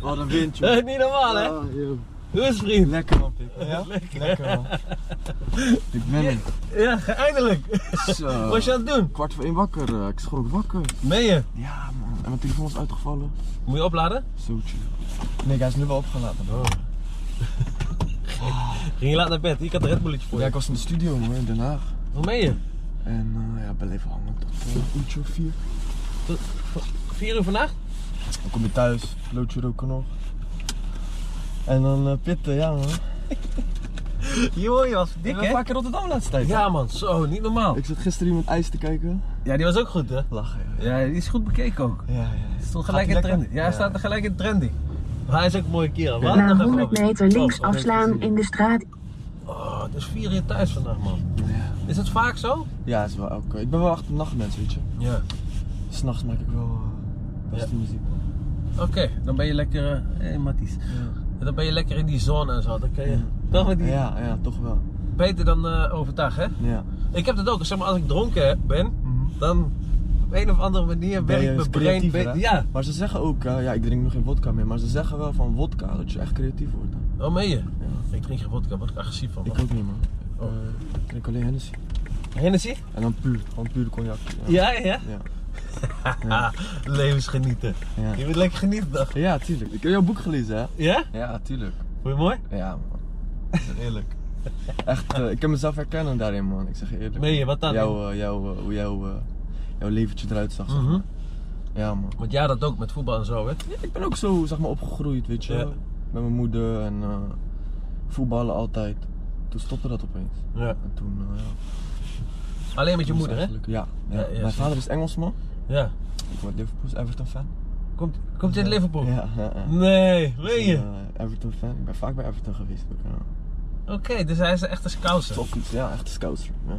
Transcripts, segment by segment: Wat een wind, Dat joh. is Eh, niet normaal, hè? Ja, joh. Dus, vriend. Lekker man, Pik. Ja? Lekker man. Ik ben er. Ja, eindelijk. Zo. Wat was je aan het doen? Kwart voor één wakker. eh, Ik schrok wakker. Ben je? Ja man. En mijn telefoon is uitgevallen. Moet je opladen? Zo chill. Oh, Nee, hij is nu wel opgelaten. Bro. Ging je laat naar bed? Ik had een Red Bulletje voor Ja, je. ik was in de studio man, in Den Haag. Hoe ben je? En eh, ja, ik ben even hangen tot eh, een uurtje of vier. Vier uur vannacht? Dan kom je thuis, loodje roken nog. En dan eh, pitten, ja man. Joh, je was Ik ben vaak in Rotterdam laatst tijd. Ja, man. Zo, niet normaal. Ik zat gisteren iemand ijs te kijken. Ja, die was ook goed, hè? Lachen, joh. Ja, die is goed bekeken ook. Ja, ja. Stond Gaat gelijk die lekker? in trending. Ja, hij Ja. staat er gelijk in trending. Maar hij is ook een mooie kerel. Wat Na een 100 meter links afslaan in de straat Oh, het is vier uur thuis vandaag, man. Ja, Is dat vaak zo? ja is wel elke. Ik ben wel echt een nachtmens, weet je. Ja. S'nachts maak ik wel eh, beste Ja. muziek. man. Oké, dan ben je lekker... Hé, Matties. Dan ben je lekker in die zone en zo. Dan kan je... Ja. Toch met die... Ja, ja, toch wel. Beter dan eh, overdag, hè? Ja. Ik heb dat ook. Zeg maar, als ik dronken ben, dan op een of andere manier Mhm. Ben je werkt mijn eens brein... creatiever, be- hè? Ja, Maar ze zeggen ook, eh, ja, ik drink nog geen vodka meer, maar ze zeggen wel van vodka dat je echt creatief wordt. hè. wel mee je. Ja. Ik drink geen vodka, word ik agressief van. Ik man. ook niet, man. Oh. Eh, ik drink alleen Hennessy. Hennessy? En dan puur, gewoon puur cognac. Ja, ja. ja. Ja. Ah, levensgenieten. Ja. Je moet lekker genieten, dag. Ja, tuurlijk. Ik heb jouw boek gelezen, hè? Ja? Ja, tuurlijk. Vond je mooi? Ja, man. Eerlijk. Echt, eh, ik kan mezelf herkennen daarin, man. Ik zeg je eerlijk. Meen je, wat dan? Jouw, eh, jouw, eh, hoe jouw, eh, jouw leventje eruit zag. zeg Mhm. maar. Ja, man. Want jij had dat ook met voetbal en zo, hè? Ja, ik ben ook zo, zeg maar, opgegroeid, weet je. Ja. Met mijn moeder en eh, voetballen altijd. Toen stopte dat opeens. Ja. En toen, eh, ja. Alleen met je toen is moeder, hè? eigenlijk- Ja. ja. Ja, ja, mijn zeker. vader is Engelsman. Ja. Ik word Liverpool's Everton fan. Komt, komt je uit Liverpool? Ja, ja, ja. Nee, meen je? Ik ben, eh, Everton fan. Ik ben vaak bij Everton geweest. Ook, ja. Oké, dus hij is echt een scouser. Topfiets, ja, echt een scouser. Ja.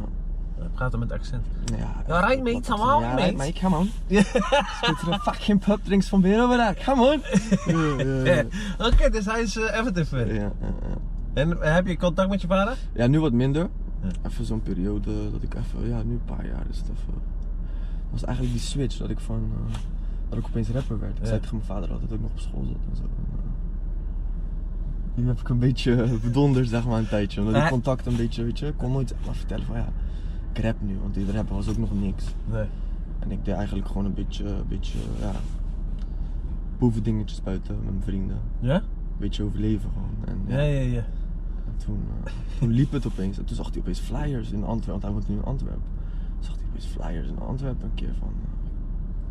Hij praat dan met accent. Ja, Ja, rijd mee, come on, Ja, mate. rijd mee, come on. Zit er een fucking pub drinks van bier over daar, come on. Ja, ja, ja. Oké, dus hij is eh, Everton fan. Ja, ja, ja. En eh, heb je contact met je vader? Ja, nu wat minder. Ja. Even zo'n periode dat ik even, ja, nu een paar jaar is het even. Dat was eigenlijk die switch dat ik van, eh, dat ik opeens rapper werd. Ik Ja. zei tegen mijn vader altijd dat ik nog op school zat en zo. En, eh, nu heb ik een beetje eh, bedonderd, zeg maar, een tijdje. Omdat die Ah. contact een beetje, weet je, ik kon nooit zeg maar vertellen van ja, ik rap nu. Want die rappen was ook nog niks. Nee. En ik deed eigenlijk gewoon een beetje, een beetje, ja, boevendingetjes buiten met mijn vrienden. Ja? Een beetje overleven gewoon. En, ja, Ja, ja, ja. en toen, eh, toen liep het opeens. En toen zag hij opeens flyers in Antwerpen, want hij woont nu in Antwerpen. Toen zag hij opeens flyers in Antwerpen een keer van eh,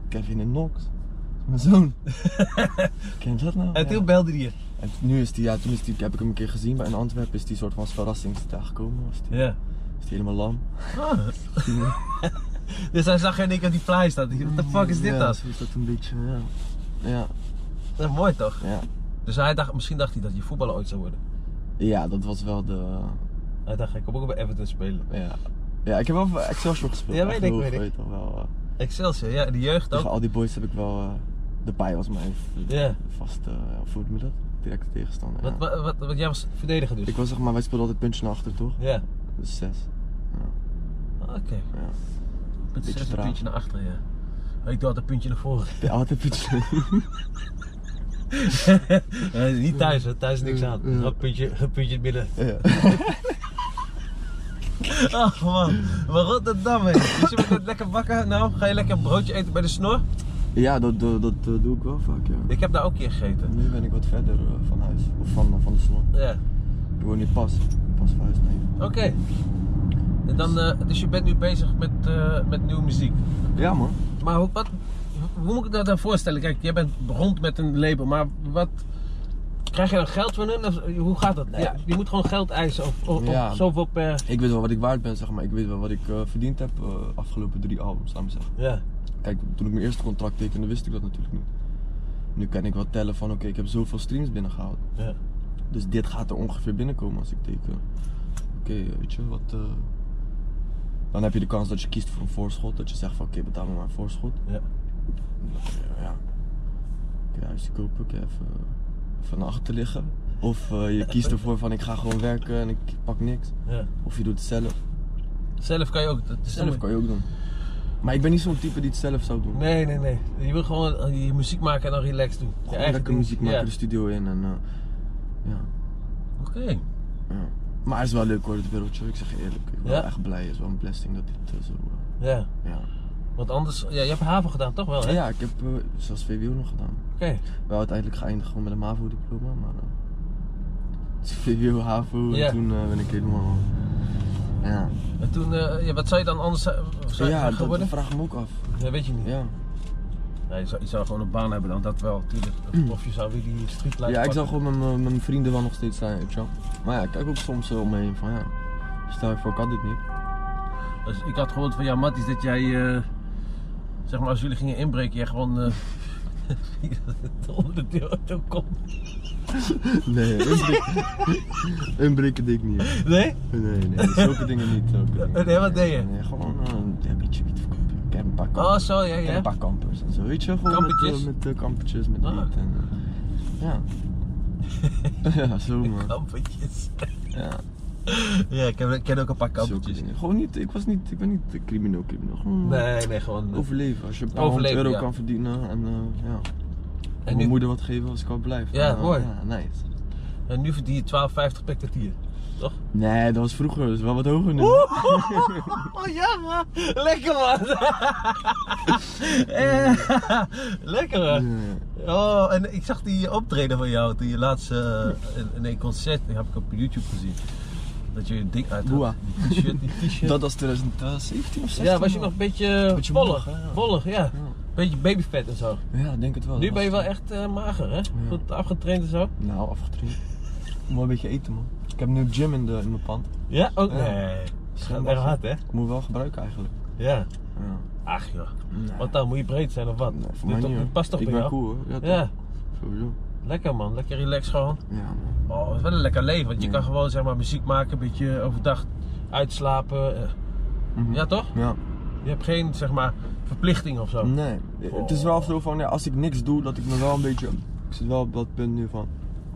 Kevin en Knox. Mijn zoon. Ken je dat nou? En Ja. toen belde hij je. En nu is die, ja, toen is die, heb ik hem een keer gezien, maar in Antwerpen is die soort van als verrassing is die daar gekomen. Was die, Ja. is die helemaal lam. Ah. Dus hij zag en ik op die fly staan. What the fuck is dit ja, dan? zo is dat een beetje, ja. Ja, Dat is mooi toch? ja. Dus hij dacht, misschien dacht hij dat je voetballer ooit zou worden. Ja, dat was wel de. Hij dacht, ik kom ook bij Everton spelen. Ja. Ja, ik heb wel voor Excelsior gespeeld. Ja, weet Echt ik, heel weet ik. goed, toch wel, eh, Excelsior, ja, de jeugd tegen ook. Dus al die boys heb ik wel. eh, de paai was mijn Ja. vaste. eh, of hoe noem je dat? Directe tegenstander. Wat, ja. wat, wat, wat- jij was verdediger dus? Ik was zeg maar, wij speelden altijd puntje naar achter, toch? Ja. Dus zes. Ja. Oké. ja. Met Beetje zes een traag. puntje naar achteren, ja. Ik doe altijd een puntje naar voren. Ja, altijd puntje. Eh, niet thuis, hè. thuis is niks aan. Ja. Een puntje, een puntje in het midden. ja. Ach man, maar Rotterdam hè. Dus je moet net lekker bakken, nou ga je lekker een broodje eten bij de snor? ja, dat, dat, dat, eh, doe ik wel vaak, ja. Ik heb daar ook een keer gegeten. Nu ben ik wat verder eh, van huis. Of van, van de snor. Ja, Ik woon niet pas. Pas van huis, nee. oké. En dan, eh, dus je bent nu bezig met, eh, met nieuwe muziek. Ja, man. Maar hoe, wat, hoe moet ik dat dan voorstellen? Kijk, jij bent rond met een label, maar wat... Krijg je dan geld van hun? Of Hoe gaat dat? Ja, je moet gewoon geld eisen of, of, of Ja. zoveel per... Ik weet wel wat ik waard ben, zeg maar. Ik weet wel wat ik eh, verdiend heb eh afgelopen drie albums, laat me zeggen. Ja, Kijk, toen ik mijn eerste contract tekende, wist ik dat natuurlijk niet. Nu kan ik wel tellen van, oké, ik heb zoveel streams binnengehaald. ja. Dus dit gaat er ongeveer binnenkomen als ik teken. Oké, weet je, wat... eh, Dan heb je de kans dat je kiest voor een voorschot. Dat je zegt van, oké, betaal me maar een voorschot. ja. Dan dacht ik, ja, ik huis te kopen, ik even, even naar achter liggen. Of eh, je kiest ervoor van, ik ga gewoon werken en ik pak niks. ja. Of je doet het zelf. Zelf kan je ook. Dat is Zelf kan je ook doen. Maar ik ben niet zo'n type die het zelf zou doen. Nee, nee, nee. Je wil gewoon eh, je muziek maken en dan relaxed doen. Je Gewoon eigen lekker ding. muziek maken, Ja. de studio in en eh, ja, Oké. ja. Maar het is wel leuk hoor, het wereldje. Ik zeg je eerlijk, ik ben Ja? wel echt blij. Het is wel een blessing dat dit eh, zo... eh, Ja. ja. Want anders, ja, je hebt haven gedaan toch wel, Oh, hè? ja, ik heb eh, zelfs VWO nog gedaan. Oké. Wel uiteindelijk geëindigd gewoon met een MAVO-diploma, maar... eh, het is VWO, HAVO Ja. en toen eh, ben ik helemaal... Ja, En toen, eh, ja, wat zou je dan anders eh, zou ja ja, dat, dat geworden? vraag ik me ook af. Dat weet je niet. Ja, Ja, je, zou, je zou gewoon een baan hebben dan, dat wel. Tuurlijk. Of je zou weer die street Mm. ja ik zou gewoon met mijn- mijn vrienden wel nog steeds zijn, weet je wel. Maar ja, ik kijk ook soms zo om me heen van ja, stel je voor, ik had dit niet. Dus ik had gehoord van jou, Matties, dat jij, eh, zeg maar, als jullie gingen inbreken, jij gewoon eh, onder de deur auto komt. Nee, inbreken, inbreken deed ik niet. Nee? Eh, Nee, nee, zulke dingen niet. Zulke dingen. Nee, wat deed je? Nee, gewoon eh, een beetje wiet verkopen. Ik heb een paar Oh, kampers. zo, ja, Ik heb ja. een paar kampers en zo, weet je? Gewoon Kampertjes? Met, eh, met eh, kampertjes, met Ah. wiet en... eh, ja. ja, zo man. Kampertjes. Ja, Ja, ik ken, ik ken ook een paar zulke kampertjes. dingen. Gewoon niet, ik was niet, ik ben niet eh, crimineel, crimineel. Gewoon Nee, nee, gewoon. eh, overleven. Als je een paar Overleven, honderd euro ja. kan verdienen en eh, ja. En En nu, mijn moeder wat geven als ik al blijf. Ja, Eh, mooi. Ja, nice. en nu verdien je 12,50 per kwartier. Toch? Nee, dat was vroeger, dat is wel wat hoger nu. Oh ja, lekker man. Eh, lekker Ja, man. ja. Oh, en ik zag die optreden van jou, die laatste eh, in- nee, concert, die heb ik op YouTube gezien. Dat je een dik uit had. Boa. Die t-shirt, die t-shirt. Dat was 2017 of 16. ja, was je nog een beetje, Beetje mollig, wollig, hè, ja. wollig, ja. Ja. Beetje babyvet en zo. Ja, ik denk het wel. nu Dat ben je wel was- echt eh, mager, hè? Goed afgetraind en zo. Nou, afgetraind. Ik moet een beetje eten, man. Ik heb nu een gym in, de, in mijn pand. Ja, ook. Ja. Nee, het gaat wel erg hard, hè? Ik moet wel gebruiken eigenlijk. Ja. Ja. Ach joh. Nee. Wat dan, moet je breed zijn of wat? Nee, voor Dit mij toch- niet, hoor. dit past toch Ik bij ben jou? cool, hoor. Ja, Ja, toch. Sowieso. lekker man, lekker relaxed gewoon. Ja, man. Oh, het is wel een lekker leven, want je Ja. kan gewoon zeg maar muziek maken, een beetje overdag uitslapen. eh. Mhm. Ja toch? Ja. Je hebt geen zeg maar verplichting of zo. Nee. Het is wel zo van, ja, als ik niks doe, dat ik me wel een beetje... Ik zit wel op dat punt nu van...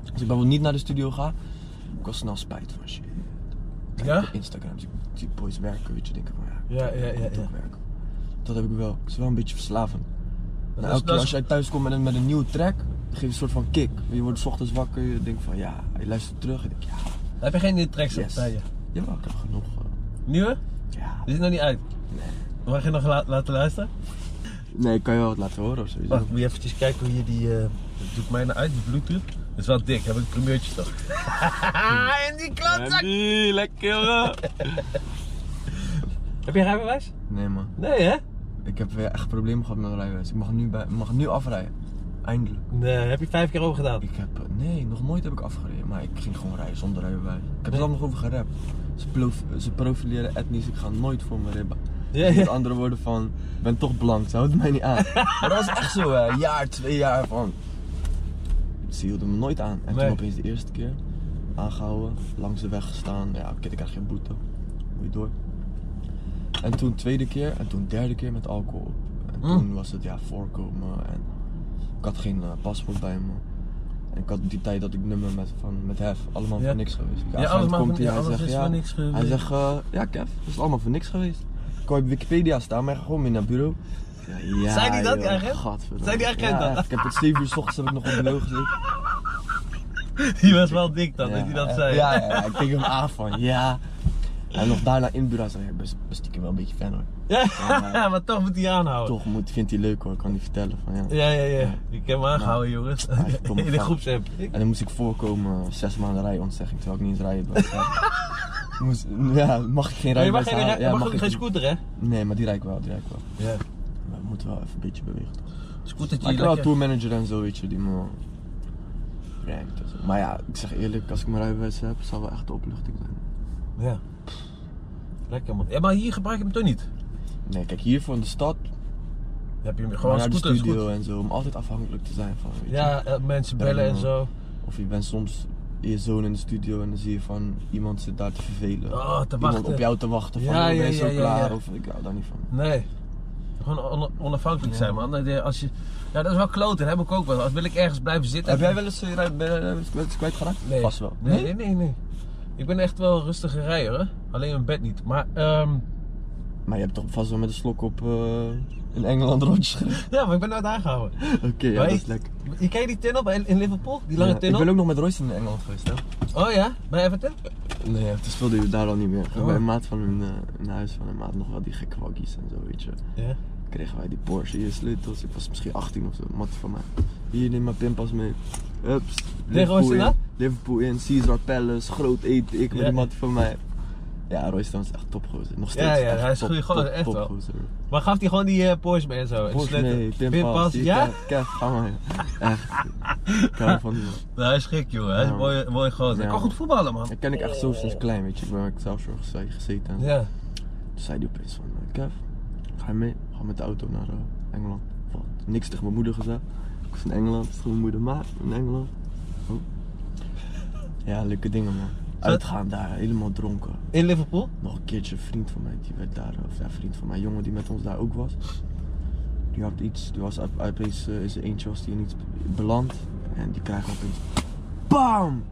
Als ik bijvoorbeeld niet naar de studio ga, heb ik al snel spijt van shit. Kijk Ja? op Instagram zie ik die boys werken, weet je. denk ik van, ja, Ja, ja, ik ja, moet ja. ook werken. Dat heb ik wel. Het is wel een beetje verslavend. Dat Nou, is- elke keer dat als is- jij thuis komt met een, met een nieuwe track, geeft een soort van kick. Je wordt 's ochtends wakker, je denkt van ja, je luistert terug en denk ja, Heb je geen nieuwe tracks op Yes. bij je? jawel, ik heb genoeg. eh, Nieuwe? ja. Die is nog niet uit. Mag ik je nog la- laten luisteren? Nee, ik kan je wel wat laten horen of sowieso. Wacht, Oh, moet je eventjes kijken hoe je die... eh dat doet mij nou uit, die bluetooth. Dat is wel dik, heb ik een primeurtje toch. en die klootzak! Andy, lekker! Heb je rijbewijs? nee man, Nee hè? ik heb weer echt problemen gehad met mijn rijbewijs. Ik mag nu, bij, ik mag nu afrijden. Eindelijk. Nee, heb je vijf keer over gedaan. Ik heb, eh, nee, nog nooit heb ik afgereden, maar ik ging gewoon rijden zonder rijbewijs. Ik heb er Nee. al nog over gerapt. Ze, plof- ze profileren etnisch, ik ga nooit voor mijn ribben. Ja, Met ja. andere woorden van, ik ben toch blank, ze houdt mij niet aan. Maar dat was echt zo, hè. Een jaar, twee jaar van. Ze hielden me nooit aan. En Nee. toen opeens de eerste keer, aangehouden, langs de weg gestaan. Ja, oké, ik krijg geen boete. Moet je door. En toen tweede keer, en toen derde keer met alcohol op. En Hm. toen was het, ja, voorkomen. En ik had geen eh, paspoort bij me. En ik had die tijd dat ik nummer met, van, met hef, allemaal Ja. voor niks geweest. Ja, agent allemaal voor komt hier, niks, hij alles zegt, is ja, voor niks Hij geweest. zegt, eh, ja Kev, dat is allemaal voor niks geweest. Ik hoor op Wikipedia staan, maar ik ga gewoon mee naar het bureau. Ja, Zei die dat, joh, die agent? gadverdamme. Zei die agent Ja, dat? echt. Ik heb het 7 uur s ochtends heb ik nog op het bureau gezeten. Die was wel dik dan, dat Ja, hij dat eh, zei. Ja, ja, ja, ik keek hem aan van, ja. En nog daarna in het bureau zei ik, ik ben s- ben stiekem wel een beetje fan hoor. Ja, maar toch moet hij aanhouden. Toch moet, vindt hij leuk hoor, ik kan hij vertellen van ja. Oh. Ja, ja, ja. Ik heb hem aangehouden, jongens. hij komt In de van- groepsapp. En dan moest ik voorkomen, eh, zes maanden rijontzegging, terwijl ik niet eens rijden was. Ja, moest, ja mag ik geen Nee, Oh, je rijbewijs mag geen, halen? je mag geen scooter, hè? Nee, maar die rijd ik wel, die rijd ik wel. Ja. Maar We moeten wel even een beetje bewegen. Maar Scootertje ik hier heb wel lekker. een tourmanager en zo, weet je, die me brengt. en zo. Maar ja, ik zeg eerlijk, als ik mijn rijbewijs heb, zal wel echt de opluchting zijn. Ja. Lekker, man. Ja, maar hier gebruik je hem toch niet? Nee, kijk, hier voor in de stad, Dan heb je hem maar gewoon naar de scooter. is goed. studio en zo, om altijd afhankelijk te zijn van, weet je. Ja, eh, mensen bellen en zo. Of je bent soms je zoon in de studio en dan zie je van, iemand zit daar te vervelen. Oh, te Iemand wachten. op jou te wachten, van, Ja, ja, ja, ben je zo ja, ja, klaar, ja. of ik hou daar niet van. Nee. Gewoon on- onafhankelijk zijn, man. Dat je- Als je... Ja, dat is wel kloten. Dat heb ik ook wel. Als wil ik ergens blijven zitten. Heb jij wel eens je rijbewijs ben je kwijtgeraakt? Nee. Vast wel. Nee, nee, nee, nee. Ik ben echt wel een rustige rijder, hè? alleen mijn bed niet. Maar ehm, Maar je hebt toch vast wel met een slok op eh, in Engeland rondjes gereden? Ja, maar ik ben nooit aangehouden. Oké, ja, Maar dat ik- is lekker. Je kent die tunnel bij, in Liverpool? Die lange Ja, ik tunnel? ben ook nog met Royston in Engeland geweest, hè? Oh ja, bij Everton? Nee, het speelde je daar al niet meer. Oh. Bij een maat van een, eh, een huis van een maat nog wel die gekke waggies en zo, weet je. Ja. Kregen wij die Porsche, hier sleutels. Ik was misschien 18 of zo, mat van mij. Hier, neem mijn pinpas mee. Ups. Royston in, aan? Liverpool in, Caesar Palace, groot eten, ik met Ja. die mat van mij. Ja, Royston is echt topgozer. Nog steeds Ja, ja, echt hij is top, goeie gozer, top, echt wel. topgozer. Maar gaf hij gewoon die eh, Porsche mee en zo? En Porsche sleutel? mee, pinpas. hier, ja? Kev, Kev, ga maar. Echt. Ik hou van die man. Nou, hij is gek, joh. Hij is een Ja. mooie, mooie gozer. Hij Ja. kan goed voetballen, man. Dat ken ik echt zo sinds klein, weet je. Ik ben ook zelf zo geze- gezeten. en zo. Ja. Toen zei die opeens van, eh, Kev, ga je mee? Ga met de auto naar eh, Engeland. Wat? Niks tegen mijn moeder gezegd. Ik was in Engeland, tegen mijn moeder, maar in Engeland. Oh. Ja, leuke dingen man. Uitgaan daar, helemaal dronken. In Liverpool? Nog een keertje een vriend van mij, die werd daar, eh, of ja, vriend van mij, een jongen die met ons daar ook was. Die had iets, die was op- opeens, eh, in zijn eentje was die in iets beland. En die krijgt opeens, BAM!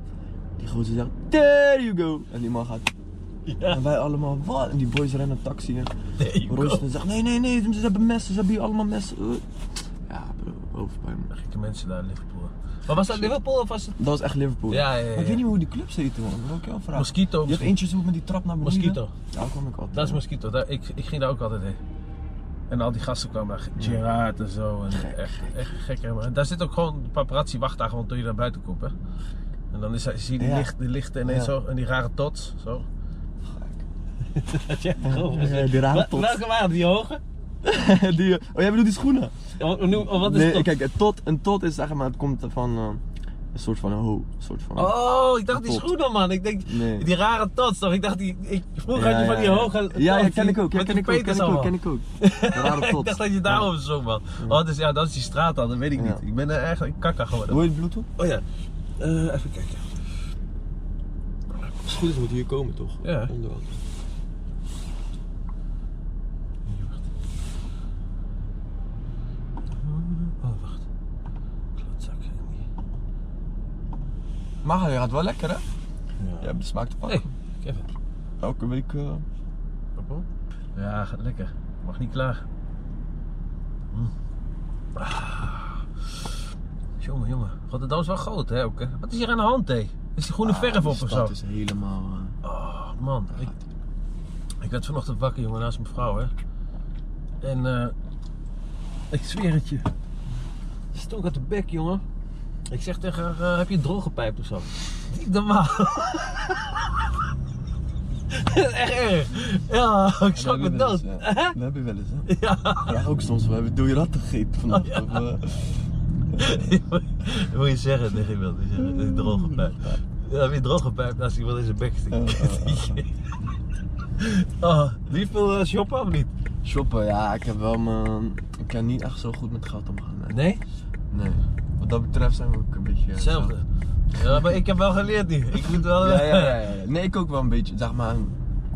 Die gozer zegt, there you go! En die man gaat Ja. en wij allemaal, wat? En die boys rennen een taxi. En Nee, Royston zegt, nee, nee, nee, ze hebben messen, ze hebben hier allemaal messen. Eh. Ja, bro, hoofdpijn. man. Gekke mensen daar in Liverpool. Maar was dat Liverpool of was het Dat was echt Liverpool. Ja, ja, ja, Maar ik weet ja. niet hoe die clubs heten, man. Dat wil ik jou vragen. Mosquito? Je hebt eentje zo met die trap naar beneden. Mosquito. Ja, daar kwam ik altijd. Dat is Mosquito. Daar, ik, ik ging daar ook altijd heen. En al die gasten kwamen daar. Gerard en zo. En Gek, echt, echt gek. hè, man. En daar zit ook gewoon de paparazzi wacht daar gewoon tot je naar buiten komt. Hè. En dan is, hij- zie je die, Ja. licht, die lichten ineens Ja. zo. En die rare tots. Zo. Ja, die rare tot. waren die hoge? die, eh, oh, jij bedoelt die schoenen? Wat nee, kijk, een tot, een tot is zeg maar, het komt van eh, een soort van een ho. Een soort van... Oh, ik dacht die Tot. schoenen, man. Ik denk, Nee. die rare tots toch? Ik dacht, die, ik, vroeger Ja, had je van ja, die ja. hoge tots Ja, ja, die- ken ik ook. Ja, met ken die ik ook. Ken peters ik ook. allemaal. Ken ik ook. Een Rare tot. Ik dacht dat je daarom zo, man. Oh, dus ja, dat is die straat dan. Dat weet ik Ja. niet. Ik ben er eigenlijk een kakka geworden. Hoor je het bluetooth? Oh ja, Eh, even kijken. Als het goed is moet hier komen, toch? Ja. Onderhand. Hier, wacht. Oh, wacht. Klootzak. Maar hij gaat wel lekker, hè? Ja. hebt de smaak te Hey, Kevin. Elke week. eh, Papa? Ja, gaat lekker. Mag niet klaar. Hm. Ah. Jongen, jongen. Rotterdam is wel groot, hè, ook, hè? Wat is hier aan de hand, hé? Is die groene ah, verf die op of zo? stad is helemaal. eh, Oh, man. Ik, ik werd vanochtend wakker, jongen, naast mijn vrouw, hè. En, eh, ik zweer het je. Ze Stonk uit de bek, jongen. Ik zeg tegen haar, eh, heb je een droge pijp of zo? Niet normaal. Echt erg. Ja, ik schrok me hebben we wel dood. eens, eh, Hè? We hebben wel eens, hè? Ja. Oh, Ja, ook soms. We hebben dode ratten gegeten vanaf. of, eh, Wil je zeggen tegen iemand? die zegt, Een droge pijp. Mm. Ja, heb je een droge pijp Nou, naast iemand in zijn bek eh, stikt. eh, eh. Oh, die veel eh, shoppen of niet? Shoppen, ja, ik heb wel mijn. Ik kan niet echt zo goed met geld omgaan. hè. Nee? Nee. Wat dat betreft zijn we ook een beetje. eh, Hetzelfde. zo. Ja, maar ik heb wel geleerd nu. Ik moet wel. Ja, ja, ja, ja. Nee, ik ook wel een beetje, zeg maar.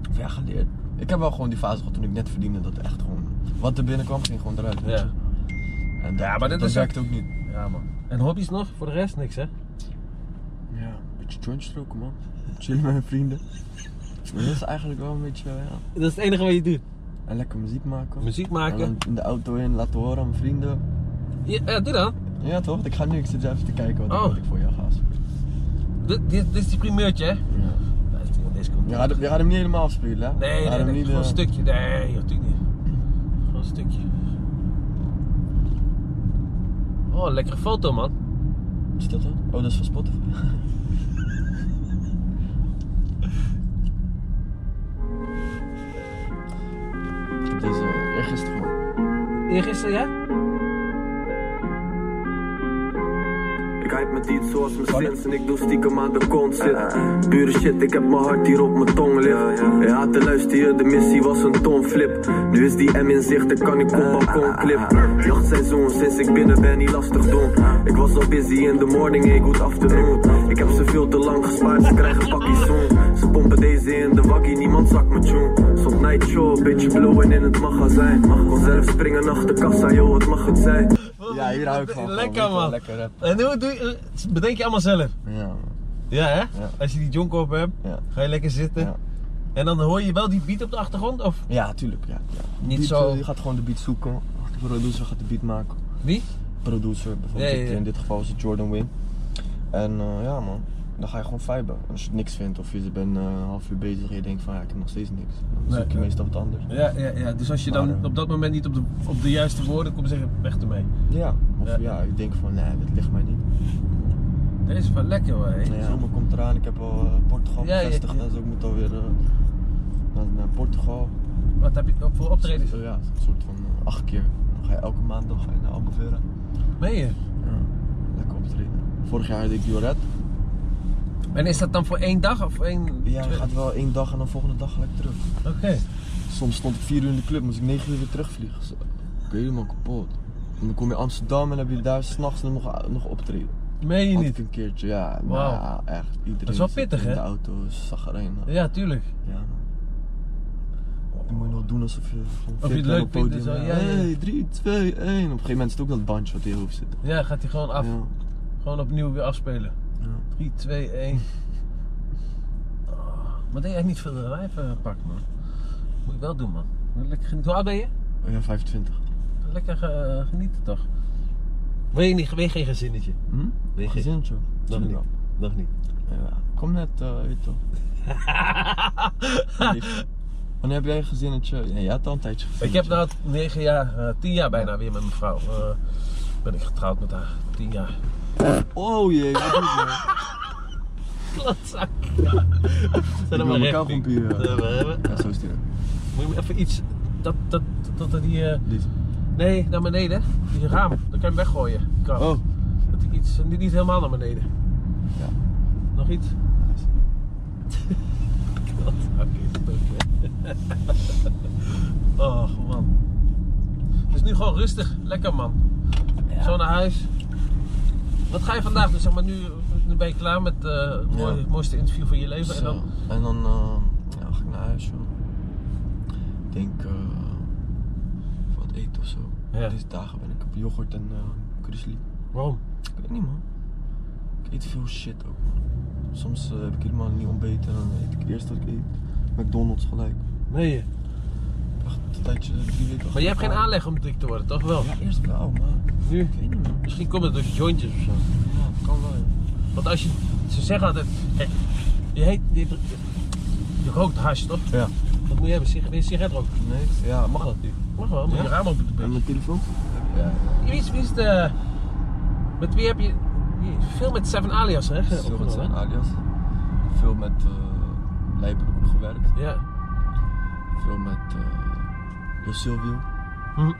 Of ja, geleerd. Ik heb wel gewoon die fase gehad toen ik net verdiende dat echt gewoon. Wat er binnenkwam ging gewoon eruit. weet Ja. je. En Ja, dat- maar dit dat is werkt ook niet. Ja, man. En hobby's nog? Voor de rest niks, hè? Ja, een beetje jointjes roken, man. Chillen met mijn vrienden. Maar dat is eigenlijk wel een beetje, ja. Dat is het enige wat je doet. En lekker muziek maken. Muziek En dan maken. in de auto in, laten horen aan mijn vrienden. Ja, ja, dit dan. Ja toch? Want Ik ga nu, ik zit even te kijken wat, Oh. wat ik voor jou ga afspelen. Dit, dit, dit is die primeurtje, hè? Ja. Deze komt. Je gaat, hem- je gaat hem niet helemaal spelen, hè? Nee, Je gaat nee, hem nee, niet, gewoon een eh, stukje. Nee, natuurlijk niet. Gewoon een stukje. Oh, lekkere foto, man. wat Is dat dan? Oh, dat is van Spotify. ik heb deze eh, eergisteren gehoord. Eergisteren, ja? Ik hype met iets zoals mijn sins en ik doe stiekem aan de kont zit. Pure shit, ik heb mijn hart hier op mijn tong liggen. Ja, te luisteren, de missie was een tonflip. Nu is die M in zicht, dan kan ik op balkon clip. Jachtseizoen, sinds ik binnen ben, niet lastig doen. Ik was al busy in de morning, hey, good afternoon. Ik heb ze veel te lang gespaard, ze krijgen pakjes zoen. Ze pompen deze in de waggie, niemand zakt me tune. Stond night show, beetje blowen in het magazijn. Kon zelf springen achter kassa, joh, wat mag het zijn? Ja, hier hou ik van. Lekker, Gewoon, weet je man. wel, Lekker rap. En hoe doe je, eh, bedenk je allemaal zelf? Ja, man. Ja, hè? Ja. Als je die jonk op hebt, Ja. ga je lekker zitten. Ja. En dan hoor je wel die beat op de achtergrond? Of Ja, tuurlijk. Ja, ja. De Niet beat, zo- eh, Je gaat gewoon de beat zoeken. De producer gaat de beat maken. wie? Producer, bijvoorbeeld. Ja, ja, ja. In dit geval is het Jordan Wing. En eh, ja, man. Dan ga je gewoon viben. En als je niks vindt of je bent eh, een half uur bezig en je denkt van ja, ik heb nog steeds niks. Dan Nee, zoek je nee. meestal wat anders. Ja, ja, ja. Dus als je Maar, dan eh, op dat moment niet op de, op de juiste woorden komt, zeg je weg ermee. Ja. Of Ja. ja, ik denk van nee, dit ligt mij niet. Deze is wel lekker hoor. hè. De zomer komt eraan. Ik heb al eh, Portugal Ja, ja, bevestigd. ja. Dus ik moet alweer eh, naar, naar Portugal. Wat heb je voor optredens? Zo, ja, een soort van eh, acht keer. Dan ga je elke maand dan ga je naar Albufeira. Meen je? Ja, lekker optreden. Vorig jaar deed ik Joret. En is dat dan voor één dag of één... Ja, je gaat wel één dag en dan volgende dag gelijk terug. Oké. Soms stond ik vier uur in de club, moest ik negen uur weer terugvliegen. Zo. Ik ben helemaal kapot. En dan kom je in Amsterdam en heb je daar s'nachts nog, nog optreden. Meen je Had niet? ik een keertje, ja. Wauw. Nou, echt. Iedereen is wel zit pittig, in hè? de auto, zag er een. Ja, tuurlijk. Ja, man. Dan moet je nog doen alsof je gewoon je fit het bent leuk op het podium. vindt en zo, ja, ja. 3, 2, 1. Op een gegeven moment zit ook dat bandje wat in je hoofd zit. Ja, gaat hij gewoon af. Ja. Gewoon opnieuw weer afspelen. Ja. 3, 2, 1. Oh, Maar deed jij niet veel lijven pakken, man? Moet je wel doen, man. Lekker genieten. Hoe oud ben je? Oh ja, 25. Lekker eh, genieten, toch? Wil je, niet, wil je geen gezinnetje? Hm? Nee, geen- Gezin, joh. Tuurlijk wel. Nog niet. Ja, kom net, eh, weet je toch. Nee. Wanneer heb jij een gezinnetje? Nee, jij had al een tijdje Ik gezinnetje. heb nou 9 jaar, eh 10 jaar bijna weer met mijn vrouw. Eh, ben ik getrouwd met haar. 10 jaar. Oh jee, wat doe nou? je? Klootzak. Ik wil elkaar gewoon puren. hebben. Ja, zo is het. Moet je me even iets. Dat, dat, dat, dat die. eh, Dit. nee, naar beneden. Die raam. Dan kan je hem weggooien. die kraan. Oh. Dat ik iets. Niet, niet helemaal naar beneden. Ja. Nog iets? Nice. Klootzak. is het ook, hè. Och Oh, man. Het is nu gewoon rustig. Lekker man. Zo nou, naar huis. Wat ga je vandaag doen? Zeg maar, nu, nu ben je klaar met eh, het mooie- Ja. het mooiste interview van je leven. En dan, Zo. En dan eh, ja, ga ik naar huis, joh. Ik denk, eh, wat eten of zo. Ja. Deze dagen ben ik op yoghurt en eh grizzly. waarom? Ik weet niet, man. Ik eet veel shit ook, man. Soms eh, heb ik helemaal niet ontbeten en dan eet ik het eerste wat ik eet. McDonald's gelijk. Nee. Echt een tijdje, eh, drie weken Maar je hebt geen achter elkaar. aanleg om dik te worden, toch wel? Ja, eerst wel, maar Nu? ik weet niet, man. Misschien komt het door je jointjes of zo. Ja, het kan wel, ja. Want als je. Ze zeggen altijd. eh, Je heet. Je, je rookt hash, toch? Ja. Wat moet je hebben? Sig- Wil je een sigaret roken? Nee, ja, mag dat nu? Mag wel, moet Ja? je raam open doen. En mijn telefoon? Ja. Wie is, wie is de. Met wie heb je. wie- Veel met Seven Alias, hè? Veel met zijn opgenomen, alias. Veel met eh Lijpen heb ik gewerkt. hè? Ja. Veel met eh Jos Silvio. Mhm.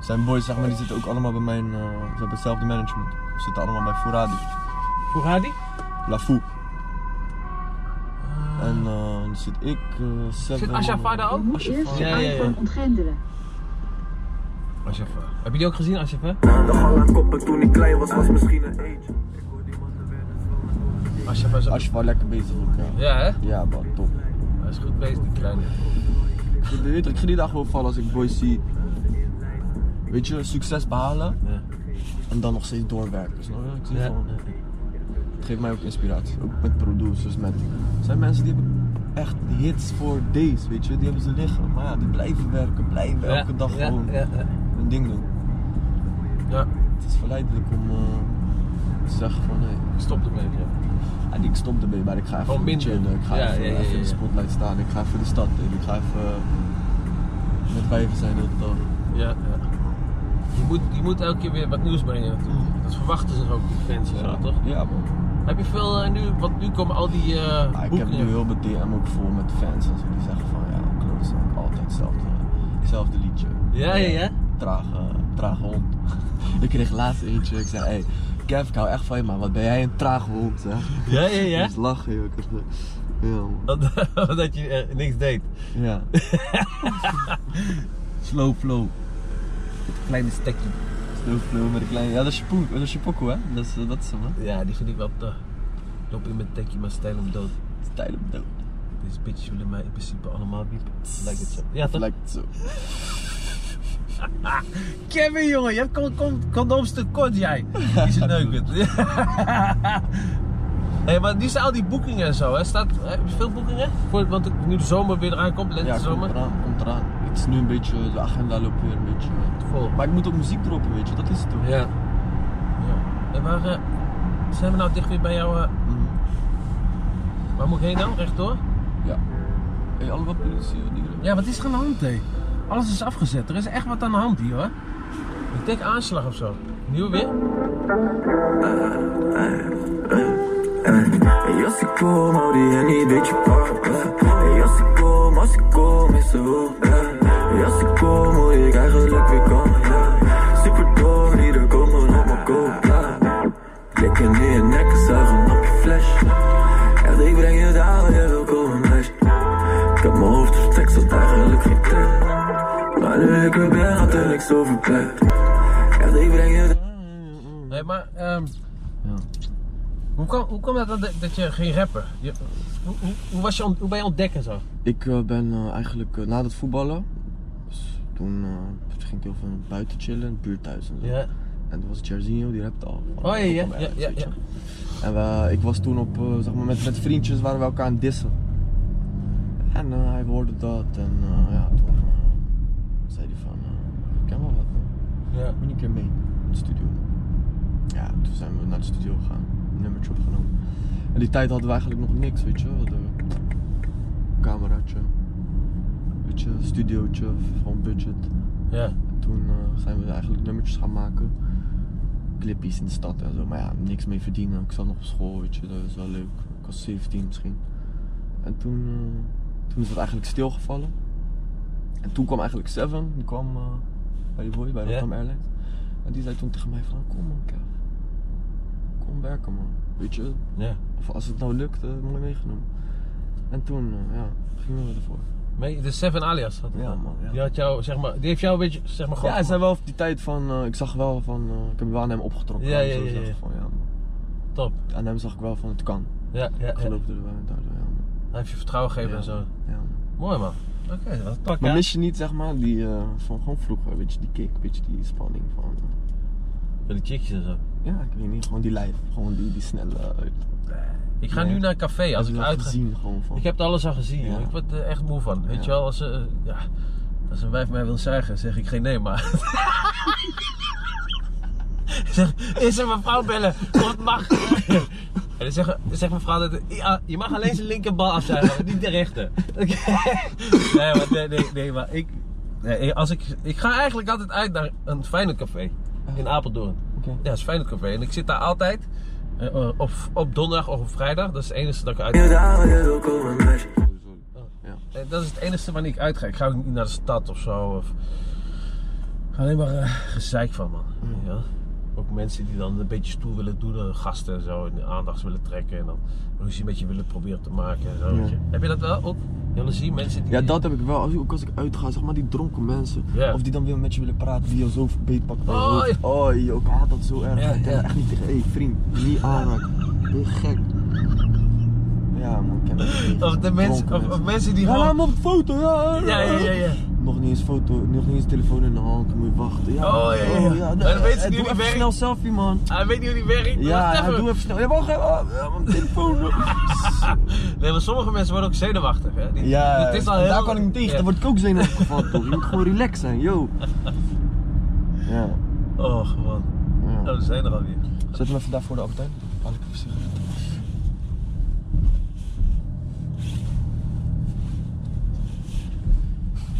Zijn boys, zeg maar, die zitten ook allemaal bij mijn. eh, ze hebben hetzelfde management. Ze zitten allemaal bij Fouradi. Hoe gaat die? Lafou. En eh, dan zit ik, eh Seven. Zit Ashafada Je ook? moet eerst Ja, je ja, ja. iPhone ontgrendelen. Ashafada. Heb je die ook gezien, Ashafada? De hal aan koppen toen ik klein was, was misschien een age. Ik hoor die mannen werden zwanger door Ashafada is ook- Ashafada lekker bezig ook, ja. Ja, hè? Ja, man, top. Hij is goed bezig, die kleine. Ik weet het, ik geniet daar gewoon van als ik boys zie. Weet je, succes behalen Ja. en dan nog steeds doorwerken. Snap je? Ik zie Ja. gewoon, eh, het geeft mij ook inspiratie. Ook met producers, met... Er zijn mensen die hebben echt hits voor days, weet je. Die hebben ze liggen. Maar ja, die blijven werken, blijven elke dag ja, gewoon Ja, ja. hun ding doen. ja. Het is verleidelijk om eh, te zeggen van, nee, stop ermee. Ja. ah, ik stop ermee, maar ik ga even Gewoon minder. chillen. Ik ga Ja, even, ja, ja, even in de ja. spotlight staan. Ik ga even de stad in. Ik ga even eh, met wijven zijn de hele dag. Ja, ja. Je moet, je moet elke keer weer wat nieuws brengen natuurlijk. Dat verwachten ze ook, die mensen, zo, toch? Mm. Ja, man. Heb je veel eh, nu, want nu komen al die eh Ja, Ah, ik heb boeken. nu heel mijn DM ook vol met fans en zo die zeggen van ja, klopt, altijd hetzelfde, hetzelfde liedje. Ja, ja, ja. Trage, trage hond. ik kreeg laatst eentje, ik zei, hé, hey, Kev, ik hou echt van je, maar wat ben jij een trage hond, hè? Ja, ja, ja. Dus lachen, joh. ik had ge- Ja, man. Dat, dat je eh, niks deed. ja. Slow flow. Kleine stekje. Snowflow met een kleine... Ja, dat is je poek- dat is je pokoe, hè? Dat is, eh, dat is hem, hè? Ja, die vind ik wel te. Loop in mijn tekje, maar stijl hem dood. Stijl op dood. Deze bitches willen mij in principe allemaal wiepen. Lijkt het zo. Ja, toch? Lijkt het zo. Kevin, jongen, je hebt con- con- condooms tekort, jij. Die is een neukend. Hé, maar nu zijn al die boekingen en zo, hè? Staat, heb je veel boekingen? Voor, want het- nu de zomer weer eraan komt, lente Ja, komt zomer. eraan, komt eraan. Het is nu een beetje, de agenda loopt weer een beetje. Vol. Maar ik moet op muziek droppen, weet je, dat is het toch? Ja. ja. En waar eh, zijn we nou dicht weer bij jou? eh, Mhm. waar moet ik heen dan? Rechtdoor? Ja. Hé, hey, allemaal politie, wat hier. Ja, wat is er aan de hand, hé? Alles is afgezet. Er is echt wat aan de hand hier, hoor. Ik denk aanslag of zo. Nieuw weer? Hey, als ik kom, hou die Henny, weet je pak. Hey, als ik kom, als ik kom, is er hoop. Hey, als ik kom, moet ik eigenlijk weer komen. Super dom, ieder komen op mijn koop. Klikken in je nek, zuigen op je flash. Echt, ik breng je daar waar je wil komen, meisje. Ik heb mijn hoofd verstekt, zat eigenlijk geen plek. Maar nu ik er ben, gaat er niks over plek. Echt, ik breng je daar. Nee, maar ehm, Ja. hoe, kwam, hoe kwam dat dan dat, dat je ging rapper? Je, hoe, hoe, hoe was je ont- hoe ben je ontdekken zo? Ik eh, ben eh, eigenlijk eh, na het voetballen, dus toen eh, ging ik heel veel buiten chillen, in de buurt thuis en zo. Ja. En toen was Jairzinho, die rapte al. Oh ja, ja, ja, ja, ja. En we- ik was toen op, eh, zeg maar, met, met vriendjes waren we elkaar aan het dissen. En eh, hij hoorde dat en eh, ja, toen eh, zei hij van, eh, ik ken wel wat man, ja. kom je niet een keer mee in de studio. Ja, toen zijn we naar de studio gegaan, een nummertje opgenomen. En die tijd hadden we eigenlijk nog niks, weet je. We hadden een cameraatje, weet je, een studiootje, gewoon budget. Ja. Toen eh, zijn we eigenlijk nummertjes gaan maken. Clippies in de stad en zo. Maar ja, niks mee verdienen. Ik zat nog op school, weet je. Dat is wel leuk. Ik was 17 misschien. En toen, eh, toen is het eigenlijk stilgevallen. En toen kwam eigenlijk Seven. Die kwam eh, bij die boy, bij Ja. Rotterdam Airlines. En die zei toen tegen mij van, "Oh, kom man, Kev. Kom werken man. Weet je, ja. of als het nou lukt, eh, mooi meegenomen. En toen, eh, ja, gingen we ervoor. Maar je- De Seven Alias had het Ja, dan. man, ja. Die, had jou, zeg maar, die heeft jou een beetje, zeg maar, gewoon... Ja, hij zei wel op die tijd van, eh, ik zag wel van, eh, ik heb wel aan hem opgetrokken. Ja, en ja, zo ja, zag ja. ik Van, ja, man. Top. Aan hem zag ik wel van, het kan. Ja, ja, Ik ja. geloofde er wel in, daardoor, ja, man. Hij heeft je vertrouwen gegeven Ja, en zo. ja, man. Mooi, man. Oké, dat is Maar mis je niet, zeg maar, die eh, van gewoon vroeger, weet je, die kick, weet je, die spanning van... eh, Met die chickjes en zo. ja, ik weet niet, gewoon die lijf, gewoon die, die snelle... eh, Ik ga Nee. nu naar een café als heb ik je wel uit gezien, gewoon van... Ik heb het alles al gezien. joh. Ja. Ik word er echt moe van. Weet Ja. je wel, als, eh, ja, als een wijf mij wil zuigen, zeg ik geen nee, maar. zeg, eerst even mevrouw bellen, of het mag. en dan zegt, zegt mevrouw dat ja, je mag alleen zijn linkerbal afzuigen, maar niet de rechter. Oké. nee, maar, nee, nee, nee, maar ik, nee, als ik, ik ga eigenlijk altijd uit naar een Feyenoordcafé in Apeldoorn. Oké. Ja, dat is Feyenoordcafé. En ik zit daar altijd eh, op, op donderdag of op vrijdag. Dat is het enige dat ik uit. Je daar waar je wil komen, meisje. Eh, Dat is het enige wanneer ik uitga. Ik ga ook niet naar de stad of zo. Of... Ik ga alleen maar eh, gezeik van, man. Hmm. Ja. Ook mensen die dan een beetje stoer willen doen, eh, gasten en zo, en de aandacht willen trekken en dan ruzie met je willen proberen te maken en zo. weet je. Heb je dat wel ook? Jullie zien mensen die. Ja, dat heb ik wel. Als- Ook als ik uitga, zeg maar die dronken mensen. Ja. Of die dan weer met je willen praten, die je zo beet pakt. Oh, ja. oh joh, ik haat dat zo erg. Ja, ik kan ja. echt niet tegen. Hé, hey, vriend, niet aanraken. Ben je gek? Ja, man, ik ken dat niet. Of, de mensen, Dronken of, of mensen die Ja, gewoon. laat me op de foto. Ja, Ja, ja, ja, ja. Nog niet eens foto, nog niet eens telefoon in de hand. Dan moet je wachten. Ja, Oh, ja, ja, ja. Maar dan eh, weten ze eh, doe die niet even werkt. snel selfie, man. Hij Ah, weet niet hoe die werkt. Ja, Wacht ja, even. doe even snel. Ja, wacht even. Oh, ja, mijn telefoon. Nee, maar sommige mensen worden ook zenuwachtig. Hè? Die- Ja, het is al daar heel- kan ik niet tegen. Ja. Daar word ik ook zenuwachtig van, toch? Je moet gewoon relaxed zijn, yo. Ja, Oh, man. ja. Oh, we zijn er alweer. Zet hem even daar voor de Albert Heijn. Haal ik even sigaretten.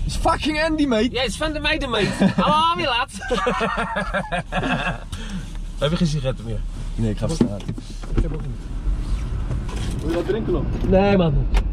Is fucking Andy, mate. Jij is van de meiden, mate. Hallo, wie laat? Heb je geen sigaretten meer? Nee, ik ga staan. Nee, man.